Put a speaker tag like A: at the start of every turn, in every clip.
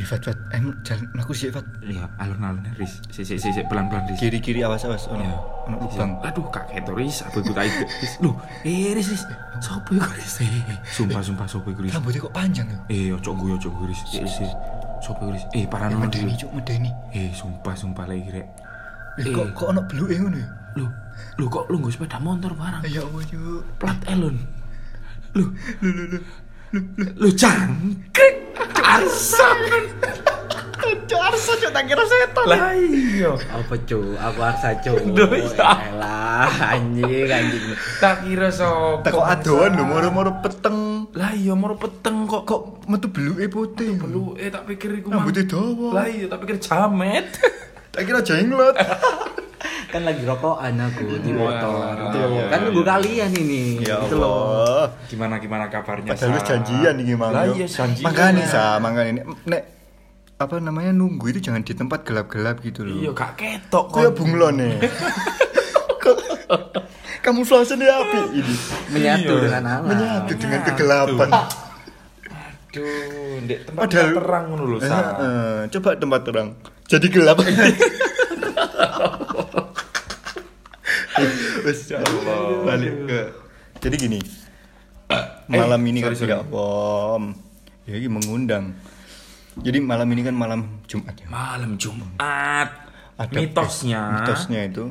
A: Ih, Fat, Fat, em jalan mlaku sih, Fat.
B: Iya, alun-alun Riz. Si si si, si, pelan-pelan Riz.
A: Kiri-kiri awas awas ono.
B: Iya.
A: Ono lubang.
B: Aduh, kakek to Riz, aku itu kayak Riz. Loh, eh Riz, Riz. Sopo iku Riz? Eh, Sumpah sumpah sopo iku Riz.
A: Rambutnya kok panjang ya?
B: Eh, ojo guyu ojo guyu Riz. Eh, Riz, Riz. Sopo iku Riz? Eh, paranormal
A: Medeni,
B: Riz.
A: cuk, medeni.
B: Eh, sumpah sumpah lagi rek.
A: Eh, kok kok ono bluke ngono ya?
B: Loh, loh kok lu nggo sepeda motor barang?
A: Ya Allah, cuk.
B: Plat Elon. Loh, lu lu lu. Lu jangkrik. Arsan.
A: Dar saja Ya, tak kira setan.
B: Lah iya.
C: apa cu aku arsa cu
B: Duh, iya.
A: Eh,
C: lah anjing anjing
B: Tak kira sop.
A: Tak kok adoan lho, moro-moro peteng.
B: Lah iya moro peteng kok kok
A: Metu bluke putih.
B: lu eh tak pikir iku mah.
A: Rambutnya dawa.
B: Lah iya tak pikir jamet.
A: Tak kira jenglot.
C: kan lagi rokokan aku
A: Iya.
C: di motor
B: Wah,
C: tuh
B: iya, iya.
C: kan nunggu kalian ini
A: Ya
C: gitu loh
A: Allah.
B: Gimana gimana kabarnya?
A: Padahal wis
B: Sa?
A: janjian iki mang.
B: Lah
A: yo.
B: iya janjian.
A: Makanya sa, makanya nek, nek apa namanya nunggu itu jangan di tempat gelap-gelap gitu loh.
B: Iya gak ketok
A: Kaya
B: kon.
A: bunglone. Kamu flase nih api ini.
B: Iya.
C: menyatu dengan alam
A: Menyatu dengan kegelapan.
B: Aduh, ndek tempat
A: Padahal
B: terang ngono lho, Sa.
A: Eh, eh, coba tempat terang. Jadi gelap. Wes, ya Allah. Balik ke. Jadi gini. Malam ini kan
B: sorry, Eh, sorry.
A: sudah om. Ya ini mengundang. Jadi malam ini kan malam Jumat ya.
B: Malam Jumat.
A: Ada-
B: mitosnya.
A: Mitosnya itu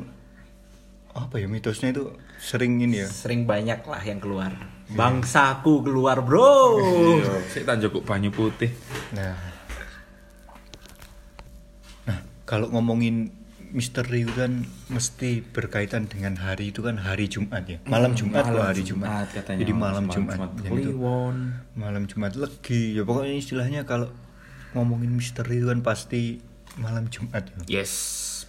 A: apa ya mitosnya itu sering ini ya.
C: sering banyak lah yang keluar
A: Iya.
C: bangsaku keluar bro
B: Iya, sik tak njukuk banyu putih.
A: Nah. Nah, kalau ngomongin misteri itu kan mesti berkaitan dengan hari itu kan hari Jumat ya. Malam Jumat loh hari Jumat.
B: katanya.
A: Jadi malam Jumat. yang itu.
B: Kliwon.
A: Malam Jumat legi. Ya pokoknya istilahnya kalau ngomongin misteri itu kan pasti malam Jumat ya.
B: Yes,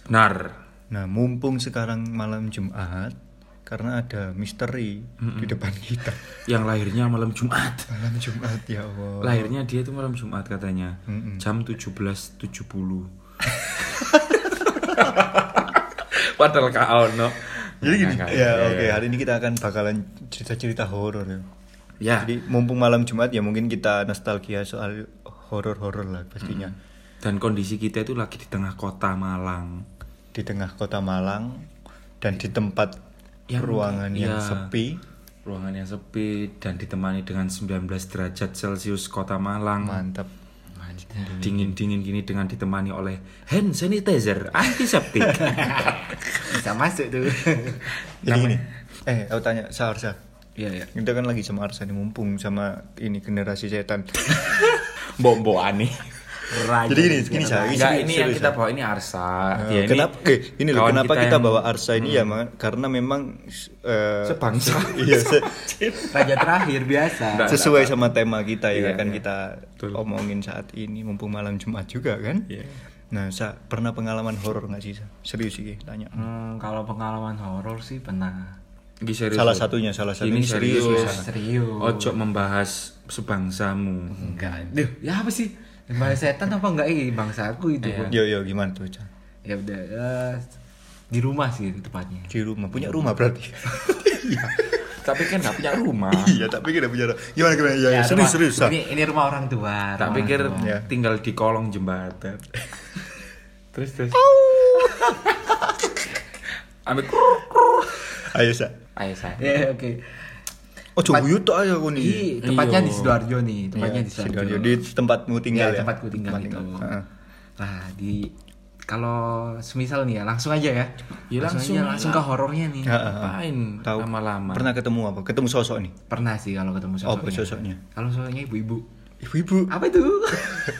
B: benar.
A: Nah, mumpung sekarang malam Jumat karena ada misteri di depan kita.
B: Yang lahirnya malam Jumat.
A: Malam Jumat ya Allah.
B: Oh. lahirnya dia itu malam Jumat katanya jam 17.70 padahal kak ono
A: Jadi gini,
B: Nah, Kak,
A: ya oke hari ini kita akan bakalan cerita-cerita horor ya.
B: ya
A: Jadi mumpung malam Jumat ya mungkin kita nostalgia soal horor-horor lah pastinya.
B: Hmm. dan kondisi kita itu lagi di tengah kota Malang
A: Di tengah kota Malang dan di tempat
B: Yang-
A: ruangan yang
B: ya.
A: sepi,
B: ruangan yang sepi dan ditemani dengan 19 derajat celcius kota Malang
A: mantap.
B: dingin dingin gini dengan ditemani oleh hand sanitizer antiseptik
C: bisa masuk tuh
A: Jadi ini, eh aku tanya Saharsa.
C: iya ya
A: Kita kan lagi sama Arsa nih mumpung sama ini generasi setan.
B: bombo aneh
A: Jadi gini, gini Sa, gini,
B: Enggak,
A: gini,
B: ini yang
A: serius,
B: kita
A: Sa.
B: bawa ini Arsa.
A: Eh,
B: Dia ini
A: kenapa? eh, ini loh,
B: kawan
A: kenapa kita,
B: yang Hmm.
A: bawa Arsa ini ya, Mang? karena memang eh,
B: sebangsa.
A: iya, se-
C: raja terakhir biasa
B: Enggak.
A: sesuai sama tema kita ya
B: Nah, Iya,
A: kan
B: iya.
A: kita omongin saat ini mumpung malam Jumat juga kan.
B: Iya.
A: Nah, Sa, pernah pengalaman horor nggak sih? Sa? Serius sih, tanya.
C: Hmm, kalau pengalaman horor sih pernah
B: Ini serius,
A: Salah
B: loh.
A: satunya, salah satunya
B: Ini Iya, serius.
A: serius.
C: serius
B: Ojo membahas sebangsamu.
C: enggak duh ya apa sih bahasa setan apa enggak ini bangsaku itu Bro.
A: Yo yo gimana tuh, Sa?
C: ya udah eh, di rumah sih tepatnya
A: Di rumah, punya rumah berarti. Iya.
B: Tapi kan nggak punya rumah.
A: Iya, tak pikir ada punya. rumah. Gimana gimana? Ya, ya, serius
C: rumah-
A: serius, Sa.
C: ini ini rumah orang tua
B: tak
C: rumah
B: pikir
C: orang tua.
A: Iya.
B: tinggal di kolong jembatan. terus terus. Ambil
A: Ayo, Sa.
B: Ayo saya.
C: ya oke
A: Oh, coba yuk tok ayo aku
B: Iya,
C: Di-
A: nih.
C: tepatnya di sidoarjo nih tepatnya
A: Iya,
C: di sidoarjo
A: Sidoarjo. Di tempatmu
C: ya,
B: Iya,
A: tinggal ya.
C: tempatku tinggal
A: Tempat
C: itu
A: Heeh.
C: nah di kalau semisal nih ya langsung aja ya
B: Ya, langsung
C: aja,
B: lah.
C: langsung ke horornya nih
A: Iya, Heeh, heeh.
B: Ngapain
A: Tahu.
B: lama-lama?
A: Pernah ketemu apa? Ketemu sosok nih.
C: pernah sih kalau ketemu
A: Apa
C: sosoknya
A: Oh, sosoknya?
C: kalau sosoknya ibu-ibu
A: Ibu-ibu.
C: apa itu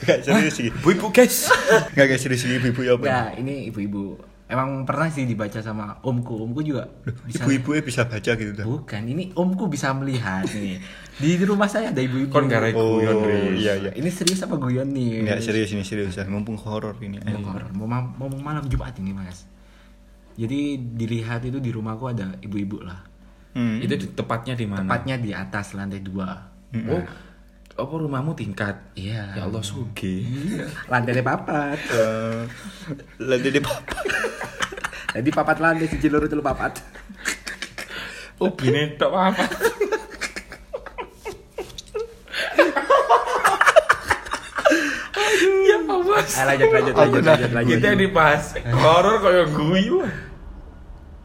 A: Gak serius sih.
B: Bu ibu guys.
A: Gak kayak serius sih ibu-ibu ya apa?
C: nah ini ibu-ibu emang pernah sih dibaca sama omku omku juga bisa
A: Ibu-ibu bisa baca gitu tuh.
C: Bukan, ini omku bisa melihat nih. Di rumah saya ada ibu-ibu. Oh,
B: Kon gara guyon Riz.
A: iya iya.
C: Ini serius apa guyon nih?
A: Enggak serius ini serius ya. Mumpung horor ini.
C: Mau horor. Mau ma- mau malam Jumat ini, Mas. Jadi dilihat itu di rumahku ada ibu-ibu lah.
A: Hmm.
B: Itu di, tepatnya di mana?
C: Tepatnya di atas lantai dua.
B: Oh, apa rumahmu tingkat?
C: Iya.
B: Ya Allah sugih.
C: Lantai papat.
A: Eh, Lah dede papa.
C: Jadi papat lantai siji loro telu papat.
B: Oh, bini tak apa-apa.
C: yang
B: apa mas?
C: Ayo, lanjut, lanjut, lanjut, lanjut, lanjut.
B: Ya Kita yang dibahas horor kayak guyu.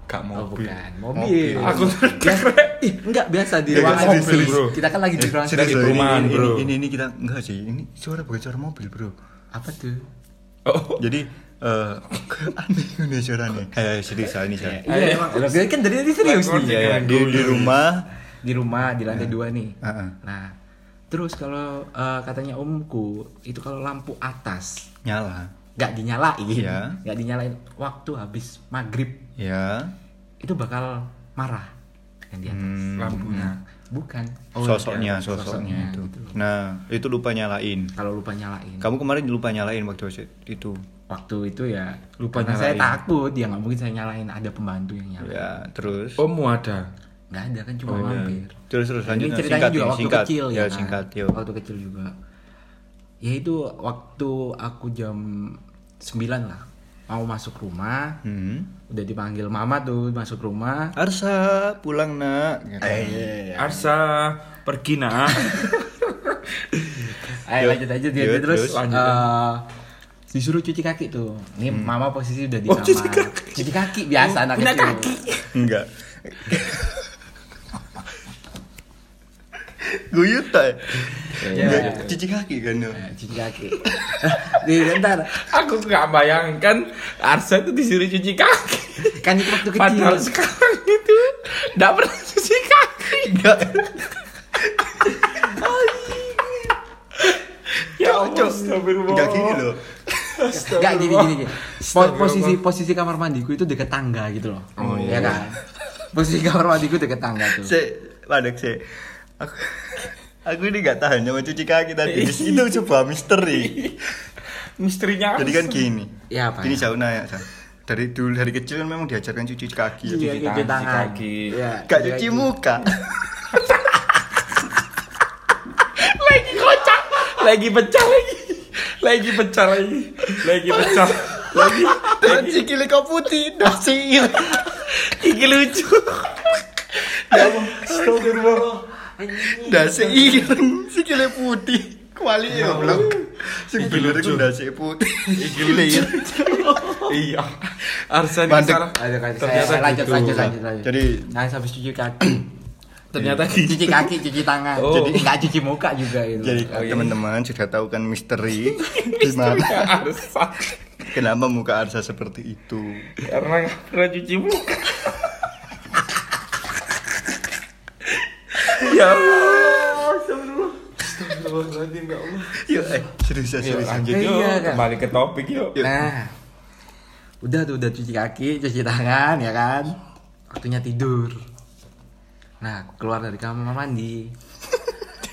A: Kak
C: Oh Ya.
A: mobil.
C: bukan, mobil.
B: Aku terkeren.
C: Ih, enggak biasa di
B: Iya,
C: ruang
B: kan
C: mobil,
B: mobil, bro.
C: Kita kan lagi di
A: Eh,
C: ruang
A: serius
B: di
A: loh, ini-
B: perumahan,
A: ini,
B: bro.
A: Ini, ini, ini kita enggak sih. Ini suara bukan suara mobil, Bro.
C: Apa tuh?
B: Oh,
A: Jadi eh aneh ini suaranya. Eh, serius ah, ini saya.
C: Iya, emang. Loh, Kan dari tadi serius nih.
B: Iya, iya.
A: Di, di rumah
C: Di rumah di lantai dua nih.
A: Heeh.
C: Nah, terus kalau eh, katanya omku itu kalau lampu atas
A: nyala. ya.
C: nggak dinyalain,
A: Iya.
C: nggak dinyalain waktu habis maghrib
A: Ya,
C: itu bakal marah yang di atas.
B: lampunya.
C: Bukan.
A: Hmm. sosoknya,
C: iya,
A: sosoknya itu.
C: gitu.
A: Nah, itu lupa nyalain.
C: Kalau lupa nyalain.
A: Kamu kemarin lupa nyalain waktu itu.
C: Waktu itu ya
B: Lupa
C: karena
B: nyalain.
C: Saya takut ya nggak mungkin saya nyalain ada pembantu yang nyalain.
A: Ya, terus
B: Om ada.
C: nggak ada kan cuma mampir.
A: Oh, iya. terus terus
C: Nah, ini
A: lanjut nah,
C: ceritanya
A: singkat
C: juga
A: nih,
C: waktu
A: singkat.
C: kecil ya,
A: ya,
C: kan?
A: singkat yuk.
C: Waktu kecil juga. Ya itu waktu aku jam 9 lah mau masuk rumah
A: Hmm.
C: udah dipanggil mama tuh masuk rumah
A: Arsa pulang nak. Gitu.
B: Eh,
C: Eh, ya.
B: Arsa pergi nak.
C: ayo lanjut aja dia
A: Yuk, terus.
C: terus
B: Lanjut.
C: eh, disuruh cuci kaki tuh ini mama posisi udah di
B: Oh,
C: kamar
B: cuci kaki.
C: Cuci kaki biasa anak
B: Punya
C: kecil
B: kaki.
A: Enggak. Guyut tak? eh?
C: Ya.
A: Enggak, Cuci kaki kan yuk.
C: Nah, cuci kaki nih bentar
B: Aku nggak bayangkan Arsa itu disuruh cuci kaki.
C: kan itu waktu kecil
B: Padahal sekarang itu nggak pernah cuci kaki.
A: Enggak.
B: Ya Allah,
A: Cocok.
B: astagfirullah.
A: Enggak gini loh.
C: Gak gini gini gini. Po-
B: Astagfirullah.
C: posisi posisi kamar mandiku itu deket tangga gitu loh.
A: Oh,
C: Ya
A: iya.
C: kan. Posisi kamar mandiku deket tangga tuh.
A: Se, padek se. Aku Aku ini gak tahan sama cuci kaki tadi. Itu sebuah misteri.
B: Misterinya
A: Jadi kan gini.
C: Ya, apa
A: Ini
C: ya?
A: jauh nanya. Sa. Dari dulu dari kecil kan memang diajarkan cuci kaki.
C: Iya,
B: cuci tangan, cuci kaki.
C: Iya,
A: Gak cuci
C: kaki.
A: muka.
B: lagi kocak lagi pecah lagi lagi pecah lagi lagi pecah lagi
A: Dan sikile kau putih, dasir.
B: iki lucu
A: Dasi ireng, sikile putih. Kuali ya blok. Sing bener iku dasi putih. Iki lucu.
B: iya Arsa ini
A: Mandek.
B: salah
C: Ayo, kan, saya-
B: ternyata
C: saya lanjut,
B: gitu.
C: lanjut, lanjut, lanjut.
A: Jadi-
C: nah, habis cuci kaki,
B: ternyata gitu
C: cuci kaki, cuci tangan,
B: Oh.
C: jadi nggak cuci muka juga itu.
A: Jadi teman-teman sudah tahu kan misteri gimana
B: Arsa
C: Iya,
A: kenapa muka Arsa seperti itu.
B: karena nggak pernah cuci muka ya Allah astagfirullah astagfirullahaladzim ya Allah
A: Yuk, eh, serius ya,
B: Yuk,
A: serius.
B: lanjut
C: Iya,
B: yuk
C: kan?
B: kembali ke topik yuk
C: Nah, udah tuh udah cuci kaki, cuci tangan ya kan. Waktunya tidur. Nah, aku keluar dari kamar mandi.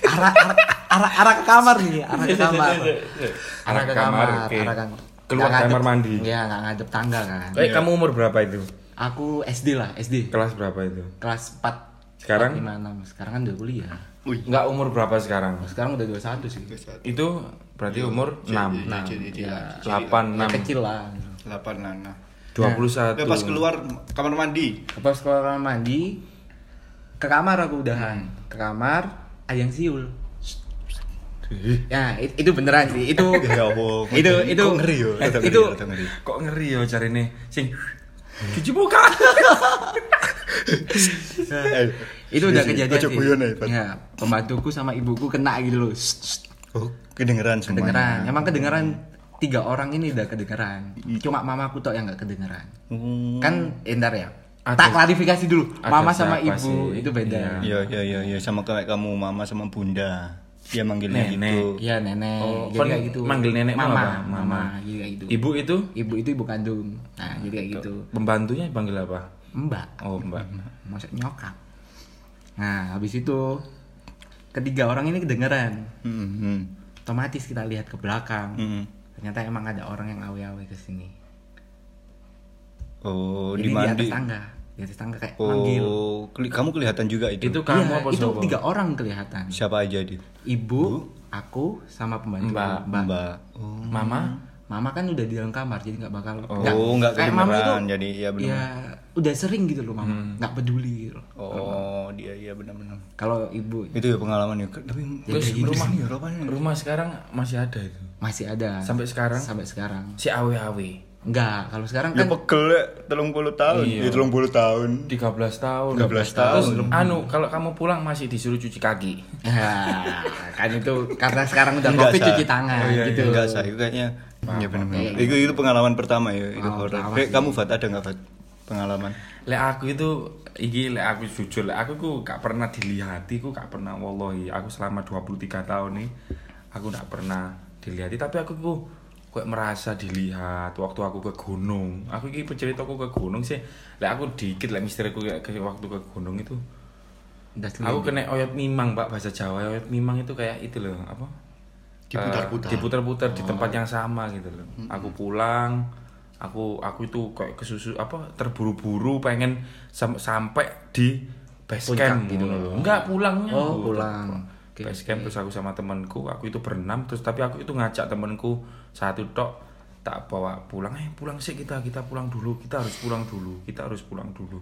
C: Arah arah arah, arah ke kamar nih, arah ke kamar.
B: Iya,
C: Arah ke kamar,
B: oke.
C: arah ke-
B: Keluar
C: nggak
B: kamar
C: ngadep-
B: mandi.
C: Iya, nggak ngadep tangga kan.
B: Eh, kamu umur berapa itu?
C: Aku SD lah, SD.
B: Kelas berapa itu?
C: Kelas 4.
B: Sekarang?
C: 5 6. Sekarang kan udah kuliah.
B: Enggak umur berapa sekarang?
C: Sekarang udah 21 sih.
B: Itu berarti umur 6,
A: Nah, jadi dia
B: 8,
A: Iya,
B: 6,
C: Kecil lah. gitu.
A: delapan nana.
B: 21.
A: Udah Nah, pas keluar kamar mandi.
C: Pas keluar kamar mandi ke kamar aku udahan. Ke kamar ada yang siul. Ya, it- itu beneran sih. Itu
A: Ya Allah,
C: itu itu
A: kok ngeri ya? yo,
C: eh,
A: rada ngeri,
C: itu
A: rada ngeri.
B: Kok ngeri ya carine? Sing cuci muka.
A: Eh,
C: Nah, itu udah
A: serius,
C: kejadian
A: ojo
C: sih.
A: guyon ae, Pat.
C: Ya, pembantuku sama ibuku kena gitu loh. Shh, shh,
A: Oh, kedengeran semuanya.
C: Kedengeran. Emang kedengeran tiga orang ini udah kedengeran. Cuma mamaku tok yang nggak kedengeran.
A: Hmm.
C: Kan endar ya.
B: Ada-
C: tak klarifikasi dulu.
B: ada
C: Mama sama
B: siapa
C: ibu
B: sih?
C: itu beda.
A: Iya, iya, iya, iya, sama kayak kamu, mama sama bunda. Dia manggilnya
B: Nenek.
A: gitu.
C: Iya, nenek.
B: Oh,
C: jadi
B: kon
C: kayak gitu.
B: manggil nenekmu
C: mama,
B: apa?
C: mama,
B: Mama.
C: jadi kayak gitu.
B: Ibu itu
C: ibu itu ibu kandung
A: Ah,
C: nah jadi kayak gitu
B: pembantunya panggil apa?
C: mbak
B: Oh, Mbak.
A: Hmm.
C: maksud nyokap nah habis itu ketiga orang ini kedengeran
A: Hmm, hmm,
C: otomatis kita lihat ke belakang
A: hmm.
C: ternyata emang ada orang yang awe-awe ke sini
A: Oh,
C: jadi
A: di
C: di
A: mandi.
C: atas tangga di atas tangga kayak manggil
A: Oh, keli- kamu kelihatan juga itu.
B: Itu
C: Iya,
B: kamu apa
C: itu
B: siapa?
C: tiga orang kelihatan
A: Siapa aja dia?
C: ibu aku sama pembantu
B: Mbak.
A: Mbak. Oh.
B: Mama,
C: mama kan udah di dalam kamar jadi nggak bakal
A: Oh,
C: nggak-
A: nggak
C: kayak mama itu
A: kedengeran, jadi Hmm. iya bener.
C: ya udah sering gitu loh mama nggak peduli gitu loh.
A: Oh, dia iya benar-benar.
C: kalau ibu
A: Itu ya pengalaman ya. Tapi
B: Terus
A: di
B: rumah
A: sini ya, rupanya.
B: rumah sekarang masih ada itu.
C: masih ada
B: Sampai sekarang?
C: sampai sekarang
B: Si awe-awe.
C: nggak kalau sekarang
A: Ya
C: kan
A: pegel ya, telung puluh tahun.
B: Iya.
A: Ya telung puluh tahun.
B: 13 tahun.
A: 13
B: Terus
A: tahun.
B: anu kalau kamu pulang masih disuruh cuci kaki.
C: Ah, kan itu karena sekarang udah
A: Enggak,
C: covid
A: Sa.
C: cuci tangan
A: Oh, iya,
C: gitu
A: iya. Enggak, saya kayaknya. Iya benar-benar.
C: Oke.
A: Itu itu pengalaman pertama ya, itu
C: Pengalaman
A: horor.
C: pertama
A: Kayak kamu Fat ada nggak Fat pengalaman?
B: Lek aku itu iki lek aku jujur lek aku ku gak pernah dilihati ku gak pernah wallahi aku selama 23 tahun nih aku gak pernah dilihati tapi aku ku kayak merasa dilihat waktu aku ke gunung aku iki penceritaku ke gunung sih lek aku dikit lek misteriku lek ke- waktu ke gunung itu
C: Udah
B: aku kena oyot mimang mbak bahasa Jawa oyot mimang itu kayak itu loh apa
A: Diputar-putar.
B: Eh, diputar-putar
C: Oh.
B: di tempat yang sama gitu loh aku pulang aku aku itu kayak kesusu apa terburu-buru pengen sam- sampai di base
C: Puncak
B: camp
C: gitu
B: ngono
C: loh.
B: loh. enggak pulangnya
C: Oh,
B: aku.
C: pulang. Oke,
B: base camp terus aku sama temanku aku itu berenam terus tapi aku itu ngajak temanku satu tok tak bawa pulang eh pulang sih kita kita pulang dulu kita harus pulang dulu kita harus pulang dulu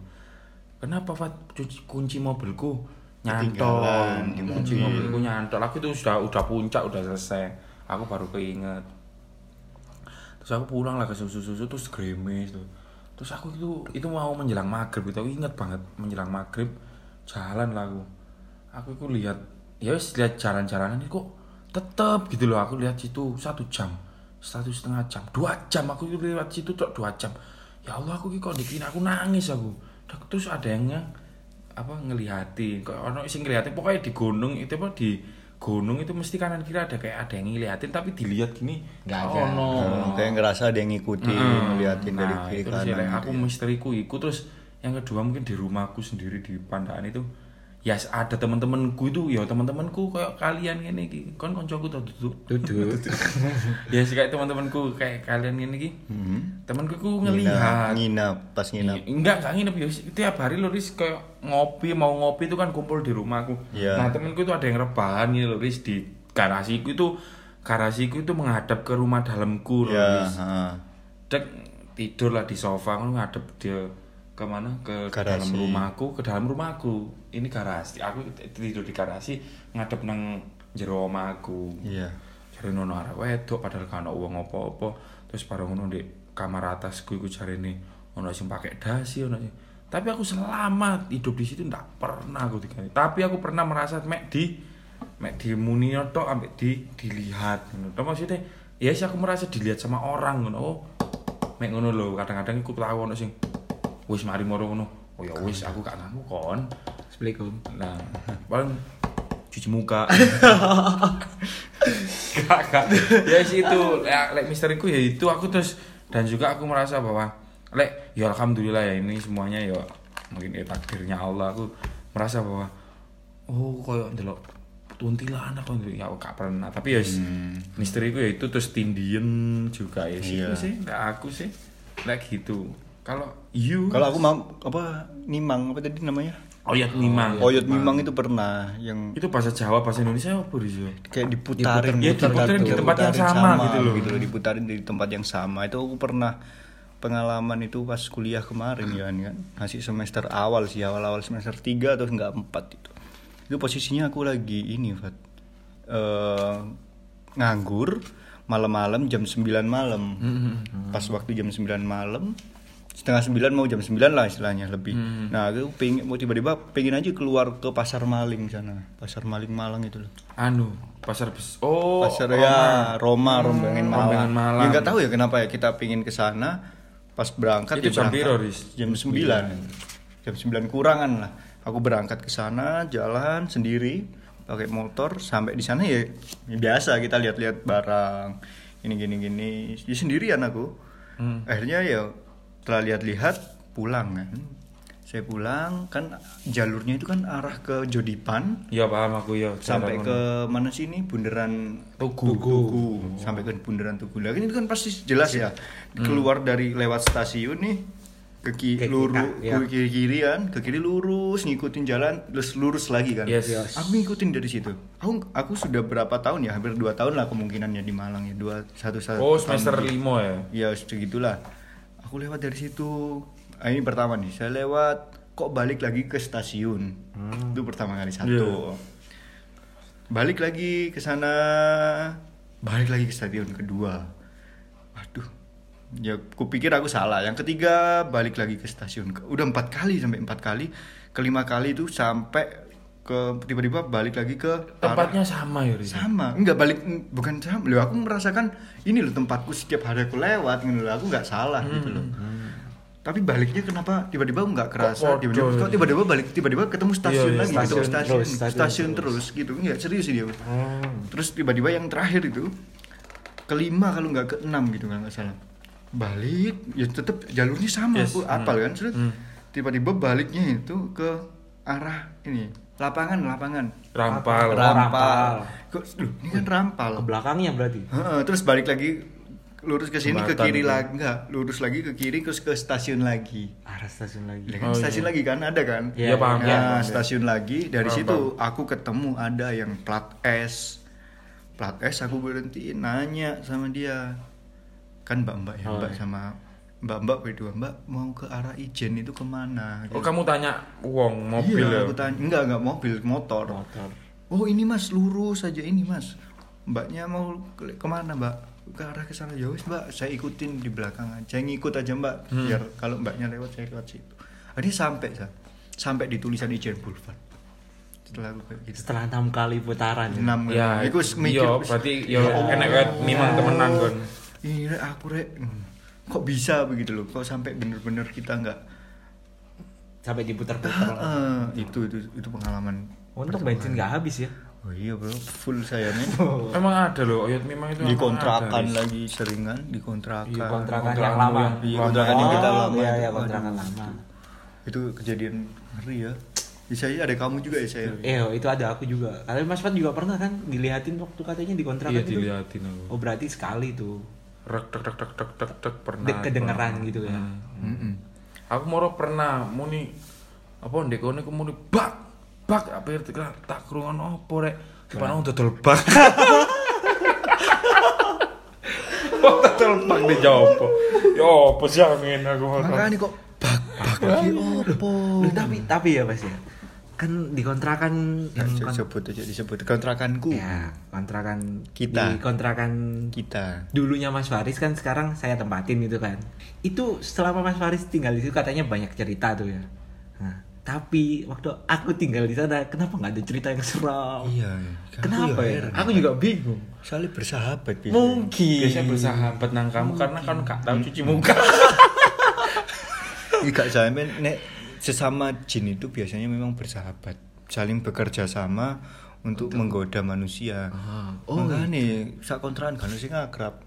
B: kenapa Fat Kunci- kunci mobilku
A: Ketinggalan
B: nyantol
A: di
B: kunci mobilku nyantol aku itu sudah udah puncak udah selesai aku baru keinget terus aku pulang lah ke susu susu terus gerimis tuh terus aku itu itu mau menjelang maghrib itu aku inget banget menjelang maghrib jalan lah aku aku itu lihat ya wis lihat jalan-jalanan ini kok tetep gitu loh aku lihat situ satu jam satu setengah jam dua jam aku itu lewat situ cok dua jam ya Allah aku ini kok dikira aku nangis aku terus ada yang apa ngelihatin kok ono sing ngelihatin pokoknya di gunung itu apa di gunung itu mesti kanan kiri ada kayak ada yang ngelihatin tapi dilihat gini
C: Nggak ada.
B: ono.
A: Hmm, Kayak ngerasa ada yang ngikutin, ngeliatin dari
B: Nah,
A: kiri
B: itu sih,
A: kanan. gitu ya.
B: like, aku misteriku iku terus yang kedua mungkin di rumahku sendiri di pandaan itu ya ada teman-temanku itu ya teman-temanku kayak kalian ini ki kon koncoku tau duduk
C: duduk
B: ya sih kayak teman-temanku kayak kalian ini ki
A: Mm-hmm.
B: temanku ku
A: Nginap,
B: ngelihat
A: nginap, pas nginap.
B: enggak enggak nginep ya tiap hari lo ris kayak ngopi mau ngopi itu kan kumpul di rumahku
A: Iya.
B: nah temanku itu ada yang rebahan gitu lo ris di garasiku itu garasiku itu menghadap ke rumah dalamku lho,
A: Ya,
B: Ris.
A: heeh.
B: dek tidur lah di sofa kan ngadep dia kemana ke
A: Garasi.
B: dalam rumahku ke dalam rumahku ini garasi aku t- tidur di garasi ngadep nang jero omahku
A: Iya.
B: cari nono arah wedok padahal kan uang apa apa terus baru ngono di kamar atasku iku cari nih ono sing pakai dasi ono sing tapi aku selamat hidup di situ ndak pernah aku diganti tapi aku pernah merasa mek di mek di munio tok ambek di dilihat ngono Tok maksudnya ya sih aku merasa dilihat sama orang ngono oh mek ngono lho kadang-kadang aku tahu ono sing wis mari moro ngono oh ya wis aku gak nganggu kon
C: assalamualaikum
B: Nah, paling cuci muka. gak, gak. Ya sih itu, lek lek misteriku ya itu aku terus dan juga aku merasa bahwa lek ya alhamdulillah ya ini semuanya ya mungkin ya takdirnya Allah aku merasa bahwa oh koyo ndelok tuntilan aku ndelok ya aku gak pernah tapi ya misteriku ya itu terus tindien juga ya sih
A: Hmm. Iya.
B: Itu sih lek aku sih lek gitu kalau you
A: Kalau aku mau apa nimang apa tadi namanya?
B: oyot Iya, nimang
A: Oyot mimang itu pernah yang
B: itu bahasa Jawa bahasa Indonesia apa ya? Rizu?
A: kayak diputarin, gitu.
B: Diputer- ya, diputarin di tempat yang sama gitu loh.
A: diputarin di tempat yang sama itu aku pernah pengalaman itu pas kuliah kemarin ya kan masih semester awal sih awal-awal semester 3 atau enggak 4 itu itu posisinya aku lagi ini Fat Eh, nganggur malam-malam jam 9 malam pas waktu jam 9 malam setengah 9 mau jam 9 lah istilahnya lebih nah aku pengen mau tiba-tiba pengen aja keluar ke pasar maling sana pasar maling malang itu loh
B: Anu, pasar bes. Oh,
A: pasar
B: oh,
A: ya Roma rombangan malam.
B: Rombangan malam.
A: Ya nggak tahu ya kenapa ya kita pingin ke sana pas berangkat
B: Itu
A: ya
B: jam
A: berangkat.
B: piro, Riz?
A: Jam 9. Jam 9 kurangan lah. Aku berangkat ke sana jalan sendiri pakai motor sampai di sana ya, ya biasa kita lihat-lihat barang ini gini gini ya sendirian aku
B: Hmm.
A: akhirnya ya setelah lihat-lihat pulang kan saya pulang kan jalurnya itu kan arah ke Jodipan
B: Ya paham aku ya.
A: sampai
B: Jarang
A: ke mana sih ini bundaran
B: Tugu.
A: Tugu.
B: Hmm.
A: sampai ke bundaran Tugu lagi itu kan pasti jelas ya keluar dari lewat stasiun nih ke kiri
C: Ke-
A: lurus
B: iya.
C: ya.
A: ke kiri kiri kan ke kiri lurus ngikutin jalan terus lurus lagi kan
B: Yes.
A: aku ngikutin dari situ aku aku sudah berapa tahun ya hampir dua tahun lah kemungkinannya di Malang ya dua satu satu
B: Oh
A: tahun.
B: semester lima ya.
A: ya segitulah aku lewat dari situ Ah, ini pertama nih saya lewat kok balik lagi ke stasiun itu pertama kali satu balik lagi ke sana balik lagi ke stadion kedua waduh ya kupikir aku salah yang ketiga balik lagi ke stasiun ke- udah empat kali sampai empat kali kelima kali itu sampai ke tiba-tiba balik lagi ke arah-
B: Tempatnya sama ya, Yuri.
A: sama nggak Iya. balik n- bukan sama loh aku merasakan ini loh tempatku setiap hari aku lewat gitu loh aku nggak salah
B: Hmm,
A: gitu loh tapi baliknya kenapa tiba-tiba aku nggak kerasa
B: Kok
A: tiba-tiba
B: bodoh?
A: kok tiba-tiba balik tiba-tiba ketemu stasiun
B: Iya, iya,
A: lagi
B: stasiun Hmm.
A: ketemu stasiun
C: terus, stasiun
A: stasiun terus, gitu nggak serius ini aku terus tiba-tiba yang terakhir itu kelima kalau nggak keenam gitu kalau nggak salah balik ya tetap jalurnya sama
B: Yes, Hmm.
A: aku apal kan terus tiba-tiba baliknya itu ke arah ini lapangan lapangan
B: Rampal.
A: rampal. Kok Duh, ini kan rampal.
C: Ke belakangnya berarti.
A: Heeh, terus balik lagi lurus ke sini ke
B: Jembatan
A: kiri
B: gitu.
A: lagi enggak, lurus lagi ke kiri terus ke stasiun lagi.
C: Arah stasiun lagi.
A: Ya kan, stasiun lagi kan ada kan?
B: Oh, Iya, paham,
A: Nah,
B: paham, paham,
A: stasiun lagi dari
B: Paham,
A: situ aku ketemu ada yang plat S. Plat S aku berhentiin nanya sama dia. Kan Mbak-mbak
B: Oh,
A: ya,
B: iya.
A: Mbak sama Mbak-mbak berdua, Mbak mau ke arah Ijen itu kemana? Gitu.
B: Oh kamu tanya uang mobil
A: iya,
B: ya?
A: aku tanya. Enggak, enggak mobil, motor. Oh, ini Mas lurus saja ini, Mas. Mbaknya mau ke kemana, Mbak? Ke arah ke sana jauh, Mbak. Saya ikutin di belakang aja. Ngikut aja, Mbak.
B: Hmm.
A: Biar kalau Mbaknya lewat saya lewat situ. Akhirnya sampai, Sa. Sampai di tulisan Ijen Boulevard. Setelah aku kayak gitu.
C: Setelah enam kali putaran.
A: Enam
B: Ya,
A: kali. Iku s- mikir. Iya.
B: iya,
A: s-
B: berarti ya enak kan memang temenan kan.
A: Ini Rek, aku rek Hmm. kok bisa begitu loh. Kok sampai bener-bener kita nggak
C: Sampai diputar-putar.
A: Heeh, itu itu itu pengalaman.
C: Untung bensin nggak habis ya.
A: Oh iya, Bro. Full saya nih.
B: Emang ada loh, Oyot memang
A: di
B: itu emang ada.
A: kontrakan lagi seringan di kontrakan
B: ya. Iya,
C: Kontrakan
B: Kontrakan
C: yang lama.
B: yang-
A: iya, kontrakan yang kita
C: Oh,
A: lama
C: Iya,
A: itu.
C: iya, kontrakan lama.
A: itu kejadian ngeri ya di saya ada kamu juga ya saya
C: Eh, itu ada aku juga. Kalian Mas Pat juga pernah kan dilihatin waktu katanya di kontrakan
B: Iya
C: itu?
B: diliatin aku.
C: Oh, berarti sekali tuh.
B: Rek tek tek tek tek tek tek pernah.
C: Dek kedengeran gitu ya.
A: Mm-mm.
B: Aku moro pernah muni apa ndek kene ku muni bak bak apa ya tak tak krungan opo rek. Sepana dodol bak. Wong dodol bak di jopo. Yo opo sih aku ngene aku.
A: makanya kok bak bak lagi opo
C: Loh, tapi tapi ya Mas ya. Kan di kontrakan yang
A: Se-
C: kon-
A: sebut aja disebut kontrakanku
C: ya, kontrakan
A: Kita.
C: di kontrakan
A: kita
C: dulunya Mas Faris kan sekarang saya tempatin gitu kan. Itu selama Mas Faris tinggal di situ katanya banyak cerita tuh ya. Nah, tapi waktu aku tinggal di sana kenapa nggak ada cerita yang seram?
A: iya
C: Kenapa ya? Aku juga bingung.
A: saling bersahabat Iya. biasanya.
C: Mungkin
B: Biasanya bersahabat nang kamu karena kan gak tahu cuci muka.
A: Iya Kak Zamen, nek sesama jin itu biasanya memang bersahabat, saling bekerja sama untuk menggoda manusia. oh, makanya sak kontrakan kan sing akrab.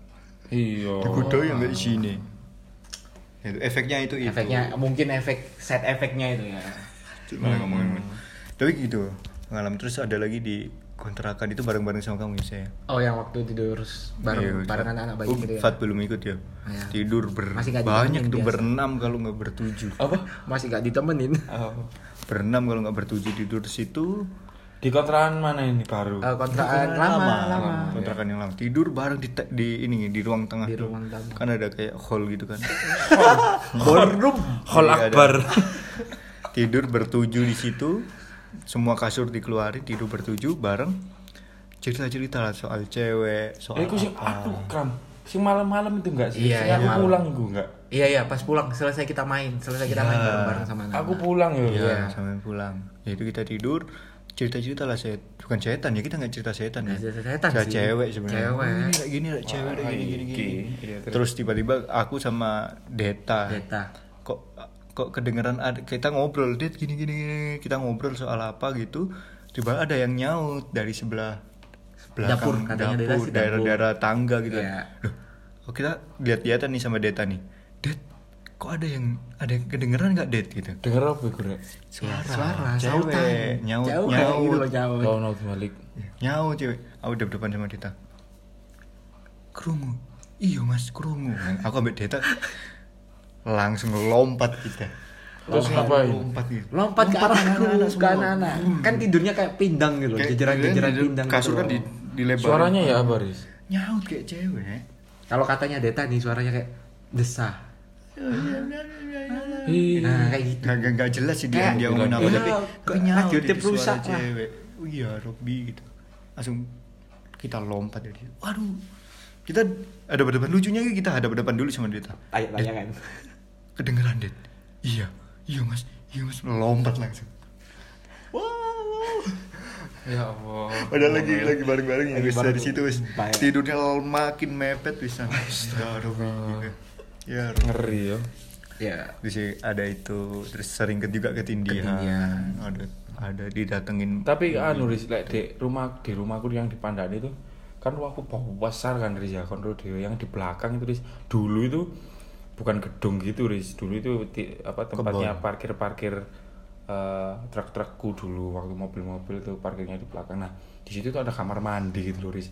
B: Iya.
A: Digoda ya mbek sini. Itu efeknya itu itu.
C: efeknya mungkin efek set efeknya itu ya.
A: Cuma
B: Hmm.
A: ngomongin. Tapi gitu. Pengalaman terus ada lagi di kontrakan itu bareng-bareng sama kamu ya saya.
C: Oh yang waktu tidur bareng bareng anak-anak bayi
A: Oh,
C: gitu ya.
A: Fat belum ikut ya.
C: Iya.
A: Tidur ber
C: Masih nggak
A: banyak
C: ditemenin
A: tuh
C: biasa.
A: berenam kalau nggak bertujuh.
C: Apa? Masih gak ditemenin.
A: Berenam kalau nggak bertujuh tidur di situ
B: Di kontrakan mana ini baru?
C: Eh, kontrakan lama, lama.
A: kontrakan yang lama tidur bareng di te- di ini di ruang tengah
C: Di
A: tuh.
C: ruang tamu.
A: kan ada kayak hall gitu kan
C: Ballroom.
B: Hall
A: Iya, ada.
B: Akbar.
A: tidur bertujuh di situ semua kasur dikeluarin tidur bertujuh bareng cerita cerita lah soal cewek soal
B: Eh, aku sih aku kram. Si malam-malam itu enggak sih?
C: Iya,
B: Sing
C: iya,
B: aku
C: malam.
B: pulang gua enggak.
C: Iya iya pas pulang selesai kita main, selesai kita main bareng-bareng sama anak.
B: Aku pulang ya.
C: Iya.
A: ya sampai pulang ya itu kita tidur cerita cerita lah set bukan setan ya kita nggak cerita setan ya
C: Nggak cerita Nah, Iya, setan
A: Cerita
C: sih.
A: cewek sebenarnya
C: Cewek.
A: Oh, ini kayak gini lah cewek kayak gini gini gini
B: Iya,
A: terus tiba-tiba aku sama Deta
C: Beta.
A: kok kok kedengeran ada, kita ngobrol dit gini gini gini, kita ngobrol soal apa gitu tiba ada yang nyaut dari sebelah
C: Dapur,
A: belakang
C: katanya Deta sih dapur.
A: daerah-daerah tangga gitu
C: Iya.
A: Loh, kok kita lihat-lihatan nih sama Deta nih Det kok ada yang ada yang kedengeran nggak Det gitu
B: Denger apa gue, Rek?
A: suara,
C: Iya, suara,
A: cewek
C: sautan.
A: nyaut
C: Jauh kayak gitu
A: nyaut
C: loh, jauh.
B: Tahun balik.
A: nyaut cewek aku udah depan sama Deta kerungu iya mas kerungu aku ambil Deta langsung lompat kita
B: Terus ngapain?
A: lompat gitu
C: Lompat ke arah ke anak-anak. Kan tidurnya kayak pindang gitu loh,
A: Kayak
C: jejeran-jejeran
A: dia- dia-
C: pindang.
A: kasur
C: gitu
A: kan di
C: loh.
A: dilebarin
B: Suaranya ya apa, Riz?
A: nyaut kayak cewek
C: Kalau katanya Deta nih suaranya kayak desah.
B: Ih,
C: Nah, kayak gitu.
A: nggak nggak- nggak jelas sih dia
C: Kayak-
A: dia ngomongin apa
C: iya,
A: tapi tapi
C: kayak
A: nyaut
C: radio
A: itu
C: tip
A: suara
C: rusak lah.
A: cewek oh iya Robby gitu langsung kita lompat dari situ. waduh kita ada berdepan lucunya kita ada berdepan dulu sama Deta
C: Tanya-tanya kan.
A: kedengeran Det iya iya mas iya mas lompat langsung wow
B: ya Allah.
A: Padahal lagi lagi bareng-bareng ya,
C: Lagi
A: wis
C: bareng
A: dari
C: tuh.
A: situ wis
C: Baik.
A: tidurnya l- makin mepet bisa. Ya Robby, gila. Ya Robby.
B: Ngeri ya.
C: Ya,
A: Di sini ada itu terus sering ke- juga ketindihan.
C: Ketindihan.
A: Ada ada didatengin
B: Tapi
A: iya.
B: anu Riz, lek di rumah di rumahku yang di Pandani itu kan aku bau besar kan Riz ya kontrol dewe yang di belakang itu Riz. Dulu itu bukan gedung gitu Riz. Dulu itu ti- apa tempatnya parkir-parkir eh, truk-trukku dulu waktu mobil-mobil itu parkirnya di belakang. Nah, di situ tuh ada kamar mandi gitu loh Riz.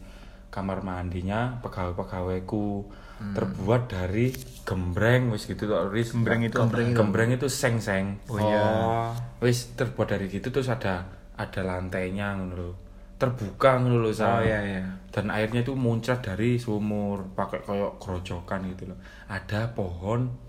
B: Kamar mandinya pegawai-pegawaiku
A: Hmm.
B: terbuat dari gembreng wis gitu tuh Riz.
A: Gembreng itu apa?
B: gembreng, gembreng itu seng-seng.
A: Oh iya.
B: wis terbuat dari gitu terus ada ada lantainya ngono lho. Terbuka ngono lho Sal.
C: iya, iya.
B: Dan airnya itu muncrat dari sumur, pakai koyok kerojokan gitu loh. Ada pohon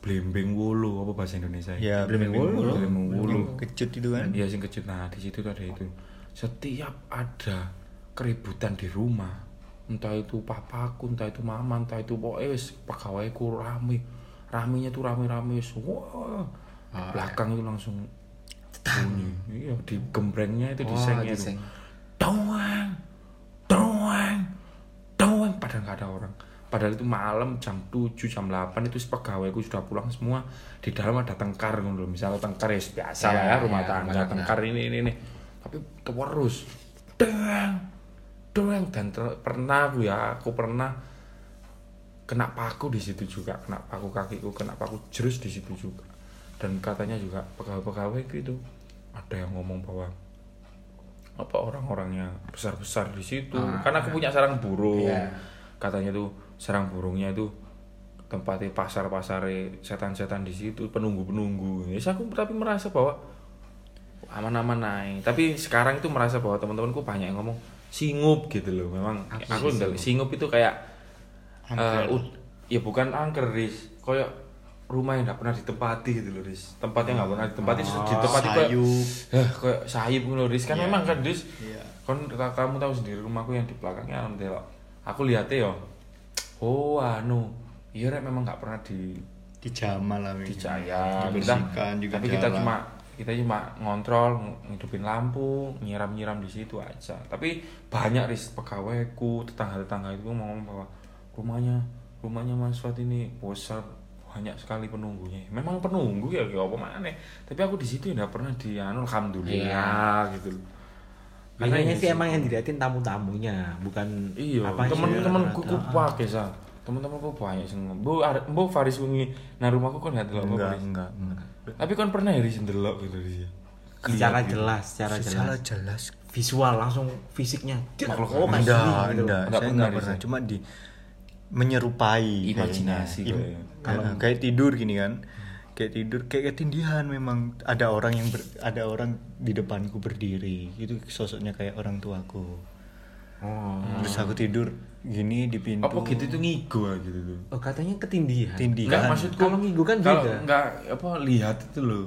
B: blimbing wulu apa bahasa Indonesia?
A: Ya,
C: Blimbing wulu.
B: Blimbing wulu.
A: kecut itu kan.
B: Iya sing kejut. Nah, di situ tuh ada itu. Setiap ada keributan di rumah, entah itu papaku, entah itu mama, entah itu pokoknya wis pegawaiku rame. Raminya tuh rame-rame wis. Wah. Belakang itu langsung bunyi. Iya, di gembrengnya itu di
C: Wah,
B: sengnya itu.
C: diseng.
B: Doang. Doang. Doang padahal nggak ada orang. Padahal itu malam jam 7, jam 8 itu pegawaiku sudah pulang semua. Di dalam ada tengkar ngono lho. Misalnya tengkar ya biasa lah ya
C: Iya,
B: rumah
C: iya,
B: tangga
C: rumah tangga.
B: tengkar ini ini ini. Tapi terus. Doang. Doang dan ter- pernah aku ya, aku pernah kena paku di situ juga, kena paku kakiku, kena paku jerus di situ juga. Dan katanya juga pegawai-pegawai itu ada yang ngomong bahwa apa orang-orangnya besar-besar di situ. Karena aku punya sarang burung.
C: Iya.
B: Katanya tuh sarang burungnya itu tempatnya pasar-pasar setan-setan di situ, penunggu-penunggu. Ya aku tapi merasa bahwa aman-aman naik. Tapi sekarang itu merasa bahwa teman-temanku banyak yang ngomong singup gitu loh. Memang
C: Apa
B: aku
C: sih
B: ndel- singup itu kayak Eh, ud- ya bukan angker Riz kayak rumah yang nggak pernah ditempati gitu loh Riz tempat yang nggak pernah ditempati terus ditempati kayak
A: Oh, sayup.
B: eh, kayak sayup gitu loh Riz kan memang kan Riz
A: Iya.
B: kan kamu tahu sendiri rumahku yang di belakangnya alhamdulillah aku lihatnya yo oh anu iya rek memang nggak pernah di
A: Dijama lah ini.
B: dicaya kita
A: Dibersihkan juga
B: tapi kita
A: jalan.
B: cuma kita cuma ngontrol ng- ngidupin lampu nyiram nyiram di situ aja tapi banyak ris pegawaiku tetangga tetangga itu ngomong bahwa rumahnya rumahnya Mas Fat ini besar banyak sekali penunggunya memang penunggu ya kayak apa mana tapi aku di situ ya nggak pernah di anu alhamdulillah gitu loh Iya
C: makanya gitu. Iya. sih emang yang diliatin tamu-tamunya, bukan
B: iya
C: apanya. ya,
B: temen-temen kuku pakai sa temen-temen kuku banyak sih bu bu Faris Ungi nah rumahku kan nggak terlalu
A: enggak enggak enggak.
B: tapi kan pernah ya Riz ndelok gitu Riz ya?
C: secara jelas, Iya. secara
A: Secara jelas.
C: jelas. Visual langsung fisiknya.
B: Makhluk
C: Oh,
B: halus.
C: kayak
A: Enggak,
C: gini gitu.
A: enggak.
B: Enggak
A: Saya
B: pernah
A: enggak
B: di
A: pernah
B: saya.
A: cuma di menyerupai
B: Imajinasi ya.
A: kayaknya.
B: kayaknya.
A: Im- kayak- kayak tidur gini kan. Kayak tidur kayak ketindihan memang ada orang yang ber- ada orang di depanku berdiri. Itu sosoknya kayak orang tuaku.
C: Oh.
A: Terus aku tidur gini di pintu.
B: Hmm. Apa gitu itu ngigo ah, gitu tuh.
C: Oh, katanya ketindihan.
B: Enggak
A: Tindihan.
B: maksudku
C: Kalau ngigo kan
B: kalau
C: beda.
B: enggak apa lihat itu loh.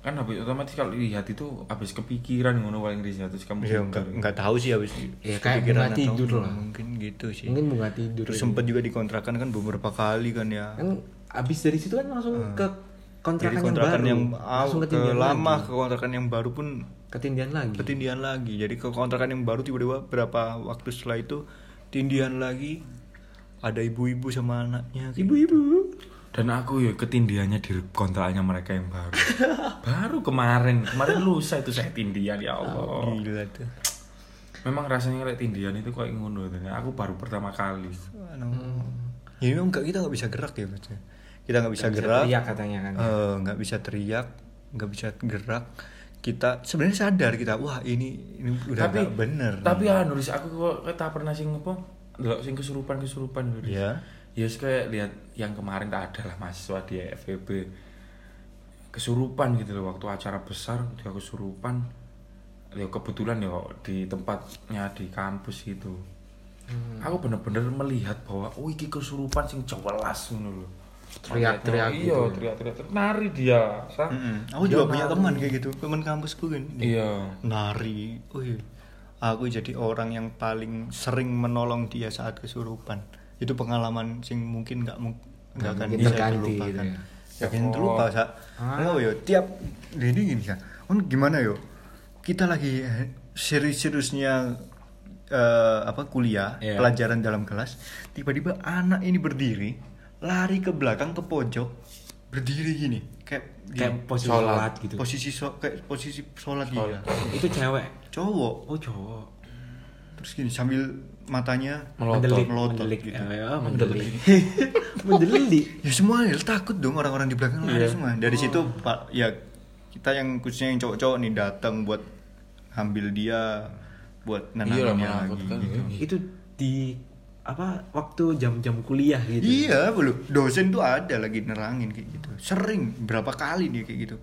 B: Kan habis otomatis kalau lihat itu habis kepikiran ngono paling Riz ya terus kamu
A: Ya
B: tidur.
A: enggak enggak tahu sih habis
C: Ya, kayak
A: kepikiran
C: bunga
A: atau
C: tidur
A: enggak,
C: lah. Iya.
A: Mungkin gitu sih.
C: Mungkin bunga tidur. ya.
A: Terus sempat juga dikontrakan kan beberapa kali kan ya.
C: kan abis dari situ kan langsung ke
A: Hmm. Jadi
C: kontrakan,
A: kontrakan
C: yang
A: yang,
C: baru.
A: aw-
C: langsung
A: ke
C: ketindihan
A: lama
C: lagi. Hmm.
A: ke kontrakan yang baru pun
C: Ketindihan lagi.
A: ketindihan lagi. Jadi ke kontrakan yang baru tiba-tiba berapa waktu setelah itu tindihan lagi ada ibu-ibu sama anaknya. gitu.
C: Ibu-ibu.
B: Dan aku ya ketindiannya di kontrakannya mereka yang baru. baru kemarin, kemarin lusa itu saya tindian ya Allah.
C: Oh.
A: Gila tuh.
B: Memang rasanya kayak tindian itu kayak ngono tuh. Aku baru pertama kali.
A: Anu.
C: Hmm.
A: Ya memang nggak- kita nggak bisa gerak ya Mas. Kita nggak bisa gerak.
C: Teriak katanya kan.
A: Eh, nggak bisa teriak, nggak bisa gerak. Kita sebenarnya sadar kita, wah ini ini udah nggak bener.
B: anu, tapi ah nulis aku kok kita pernah sing apa delok sing kesurupan kesurupan nulis
A: Iya.
B: ya yes, kayak lihat yang kemarin tak ada lah mahasiswa di FEB kesurupan gitu loh waktu acara besar dia kesurupan ya kebetulan ya di tempatnya di kampus gitu
C: Hmm.
B: aku bener-bener melihat bahwa oh iki kesurupan sing jelas ngono loh Makanya,
C: Teriak-teriak gitu
B: iya
C: ya. Hmm.
B: teriak-teriak teriak. nari dia Sa.
A: Mm-mm. Aku
B: Dia
A: juga punya
B: nari.
A: teman kayak gitu, teman kampusku kan.
B: iya
A: Nari. Wih. Aku jadi orang yang paling sering menolong dia saat kesurupan. Itu pengalaman sing mungkin nggak mung- nggak akan
C: mungkin
A: bisa
C: terganti
A: dilupakan.
C: gitu ya.
A: Nggak akan
B: Ya,
A: terlupa, Sa. Aku yo tiap jadi gini, Sa. Kan gimana yo? Kita lagi eh, serius-seriusnya eh, apa kuliah,
B: Iya.
A: pelajaran dalam kelas, tiba-tiba anak ini berdiri, lari ke belakang ke pojok, berdiri gini, kayak gini.
C: Kayak posisi
B: Sholat.
C: sholat gitu.
A: iya. posisi so- kayak posisi sholat dia
C: Itu cewek.
A: cowok
C: Oh, cowok.
A: terus gini sambil matanya
B: Melotot.
C: Mendelik,
A: melotot
C: mendelik.
A: gitu.
C: Eh, oh, mendelik. mendelik.
A: ya semua ya takut dong orang-orang di belakang lari semua dari situ pak ya kita yang khususnya yang cowok-cowok nih datang buat ambil dia buat
B: iya lah
A: nenangin dia lagi
B: menakutkan
A: gitu.
C: Itu di apa waktu jam-jam kuliah gitu.
A: Iya, belum. Dosen tuh ada lagi nerangin kayak gitu. Sering berapa kali dia kayak gitu.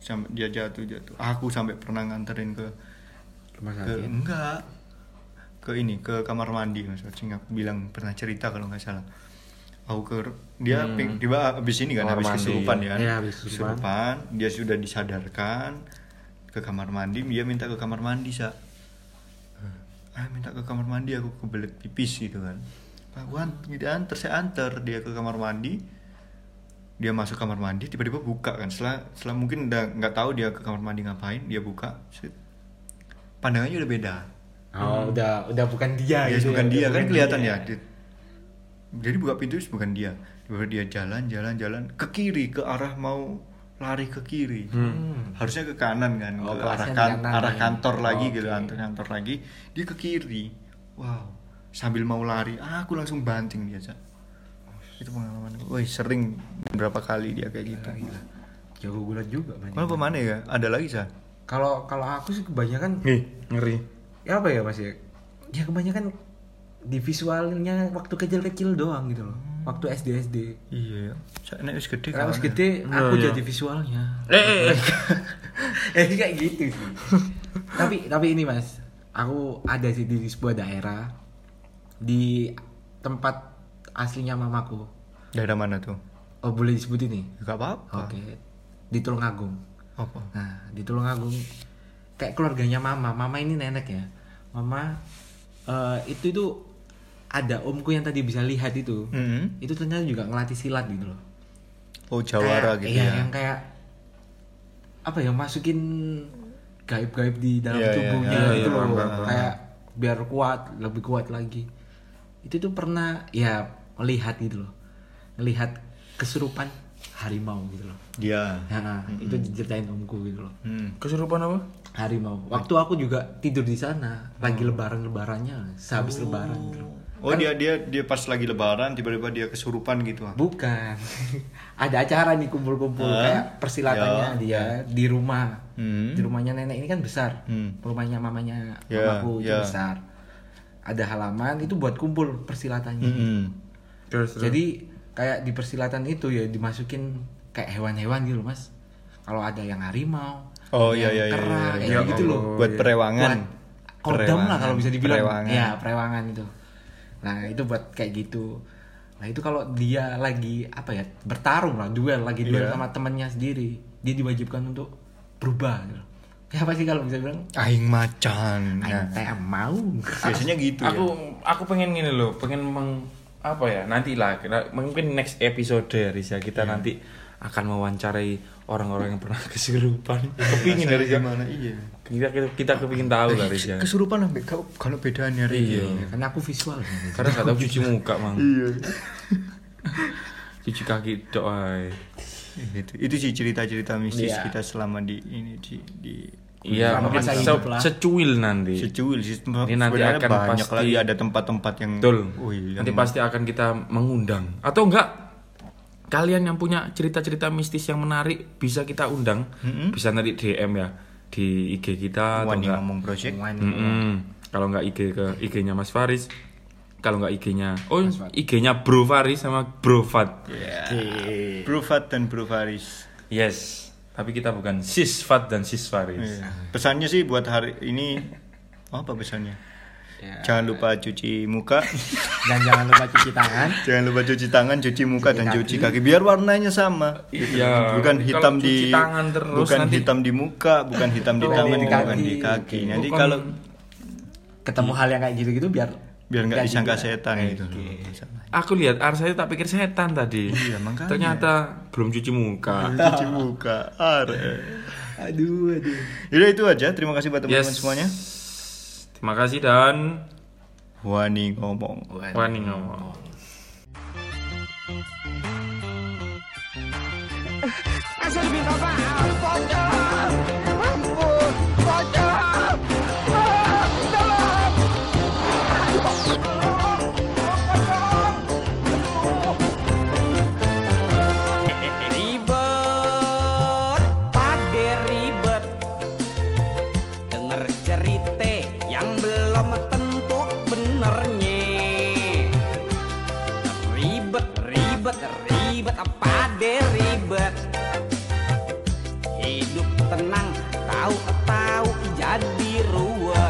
A: Sampai dia jatuh-jatuh. Aku sampai pernah nganterin ke
C: Rumah
A: ke
C: sakit.
A: enggak ke ini ke kamar mandi Mas Ocing aku bilang pernah cerita kalau nggak salah aku ke dia ping- tiba habis ini kan
B: Hmm. Kamar
A: habis
B: mandi.
A: kesurupan ya kan
C: Iya, habis kesurupan.
A: Kesurupan, dia sudah disadarkan ke kamar mandi dia minta ke kamar mandi sa ah minta ke kamar mandi aku kebelet pipis gitu kan aku an- dia anter gitu kan, saya anter dia ke kamar mandi dia masuk kamar mandi tiba-tiba buka kan setelah setelah mungkin udah nggak tahu dia ke kamar mandi ngapain dia buka set. pandangannya udah beda
C: Oh, udah udah bukan dia
A: Ya, Hmm.
C: gitu.
A: bukan
C: ya,
A: dia
C: udah
A: kan
C: bukan
A: kelihatan
C: dia.
A: ya Dia- jadi buka pintu bukan dia Tiba-tiba dia jalan jalan jalan ke kiri ke arah mau lari ke kiri
B: Hmm.
A: harusnya ke kanan kan
C: Hmm. Oh,
A: ke arah
C: kelasnya di
A: kan-
C: kanan.
A: arah kantor lagi
C: Oke.
A: gitu kantor kantor lagi dia ke kiri wow sambil mau lari aku langsung banting dia Cak. itu pengalaman woi sering berapa kali dia kayak gitu
C: Jago gulat juga Mas.
A: Kalau pemana ya? Ada lagi, Sa?
C: Kalau kalau aku sih kebanyakan
A: Iya.
B: Ih, ngeri
C: ya apa ya Mas ya? Ya kebanyakan di visualnya waktu kecil-kecil doang gitu loh.
A: Hmm.
C: Waktu SD SD.
A: Iya, Sa, nek wis gede
C: Kalau
A: kapan ya?
C: gede
B: Iya,
C: aku
B: iya.
C: jadi visualnya.
B: eh, eh, eh.
C: eh kayak gitu sih. tapi tapi ini mas, aku ada sih di sebuah daerah di tempat aslinya mamaku.
A: Daerah mana tuh? Ya,
C: Oh boleh disebut ini?
A: Gak apa-apa.
C: Oke. Di Tulungagung.
A: Apa?
C: Nah di Tulungagung kayak keluarganya mama. Mama ini nenek ya. Mama eh, itu itu ada omku yang tadi bisa lihat itu.
A: Mm-mm.
C: Itu ternyata juga ngelatih silat gitu loh.
A: Oh, Jawara
C: Kayak-
A: gitu
C: iya,
A: ya.
C: yang kayak apa ya masukin gaib-gaib di dalam
A: Iya, iya,
C: tubuhnya
A: iya,
C: gitu
A: iya,
C: loh.
A: paham,
C: kayak biar kuat lebih kuat lagi itu tuh pernah ya melihat gitu loh melihat kesurupan harimau gitu loh
A: Dia.
B: Kan
C: nah, itu diceritain omku gitu loh
A: Hmm.
B: kesurupan apa
C: harimau waktu aku juga tidur di sana lagi lebaran lebarannya sehabis lebaran gitu loh.
A: Oh, dia dia dia pas lagi lebaran tiba-tiba dia kesurupan gitu. ah.
C: bukan ada acara nih kumpul-kumpul kayak persilatannya dia di rumah
A: Hmm.
C: di rumahnya nenek ini kan besar
A: Hmm.
C: rumahnya mamanya
A: Ya,
C: mamaku itu
A: ya.
C: besar ada halaman itu buat kumpul persilatannya
A: Mm-mm.
B: terus terus.
C: jadi kayak di persilatan itu ya dimasukin kayak hewan-hewan gitu mas kalau ada yang harimau
A: Oh,
C: ada
A: iya, iya,
C: yang
A: iya,
C: kera
A: iya,
C: kayak
A: iya.
C: gitu loh
A: Oh, Buat iya. perewangan.
C: Buat kodam lah
A: Perewangan,
C: kalau bisa dibilang
A: perewangan.
C: ya perewangan itu nah itu buat kayak gitu nah itu kalau dia lagi apa ya bertarung lah duel lagi duel
A: Iya.
C: sama temannya sendiri dia diwajibkan untuk berubah gitu. ya pasti kalau bisa bilang
A: Aing macan. ya.
C: "Aing teh mau
A: Biasanya gitu
B: aku
A: ya.
B: aku pengen gini loh pengen meng apa ya nanti lah kira- mungkin next episode ya Riz, ya kita nanti akan mewawancarai orang-orang yang pernah kesurupan kepingin
A: Rasanya
B: dari kita
A: gimana? Iya.
B: kita kita kepingin tahu lah Riz, ya
A: Kesurupan sampai kau kalau bedanya
B: Iya.
A: hari.
C: Ya, karena aku visual
B: karena nggak tahu cuci muka mang
A: Iya.
B: cuci kaki doai
A: Itu itu sih cerita-cerita mistis
C: Iya.
A: kita selama di ini di di
B: iya
C: Sama
B: mungkin
C: masa
B: se-
C: hidup lah.
B: secuil nanti
A: secuil sih tem-
B: Ini nanti
A: sebenarnya
B: akan
A: banyak
B: pasti-
A: lagi ada tempat-tempat yang
B: Betul.
A: Wih, iya, yang
B: Nanti pasti akan kita mengundang atau enggak kalian yang punya cerita-cerita mistis yang menarik bisa kita undang. Bisa nanti DM ya di IG kita atau
A: Wani
B: enggak.
A: ngomong project
C: Cuman,
B: Mm-mm. Kalau enggak IG ke IG-nya Mas Faris kalau nggak IG-nya. Oh, IG-nya Bro Faris sama Bro Fat.
A: Bro Fat dan Bro Faris.
B: Yes. Tapi kita bukan Sis Fat dan Sis Faris.
A: Iya. Pesannya sih buat hari ini apa pesannya?
C: Ya.
A: Jangan lupa cuci muka,
C: Dan jangan lupa cuci tangan.
A: jangan lupa cuci tangan, cuci muka dan cuci kaki biar warnanya sama. Gitu.
B: Iya.
A: Bukan
B: Kalau
A: hitam di
B: cuci tangan terus
A: bukan
B: nanti-
A: hitam di muka, bukan hitam di
C: Bukan
A: tangan,
C: di
A: bukan
C: kaki.
A: di kaki. Nanti
B: Bukan-
A: kalau
C: Ketemu hal yang kayak gitu-gitu biar
A: Hmm. biar nggak disangka setan gitu.
B: Aku lihat Arsa itu tak pikir setan tadi.
A: Iya, makanya.
B: Ternyata belum cuci muka.
A: Cuci muka. Are.
C: Aduh, aduh.
A: Yaudah itu aja. Terima kasih buat teman-teman semuanya.
B: Terima kasih dan
A: Wani ngomong.
B: wani ngomong.
D: I should have been gone by now. Fucked up. I'm full. Fucked up. Ribet, pade ribet Dengar cerita yang belum tentu benernya Ribet, ribet, ribet, pade ribet hidup tenang tahu tahu jadi ruwet eh,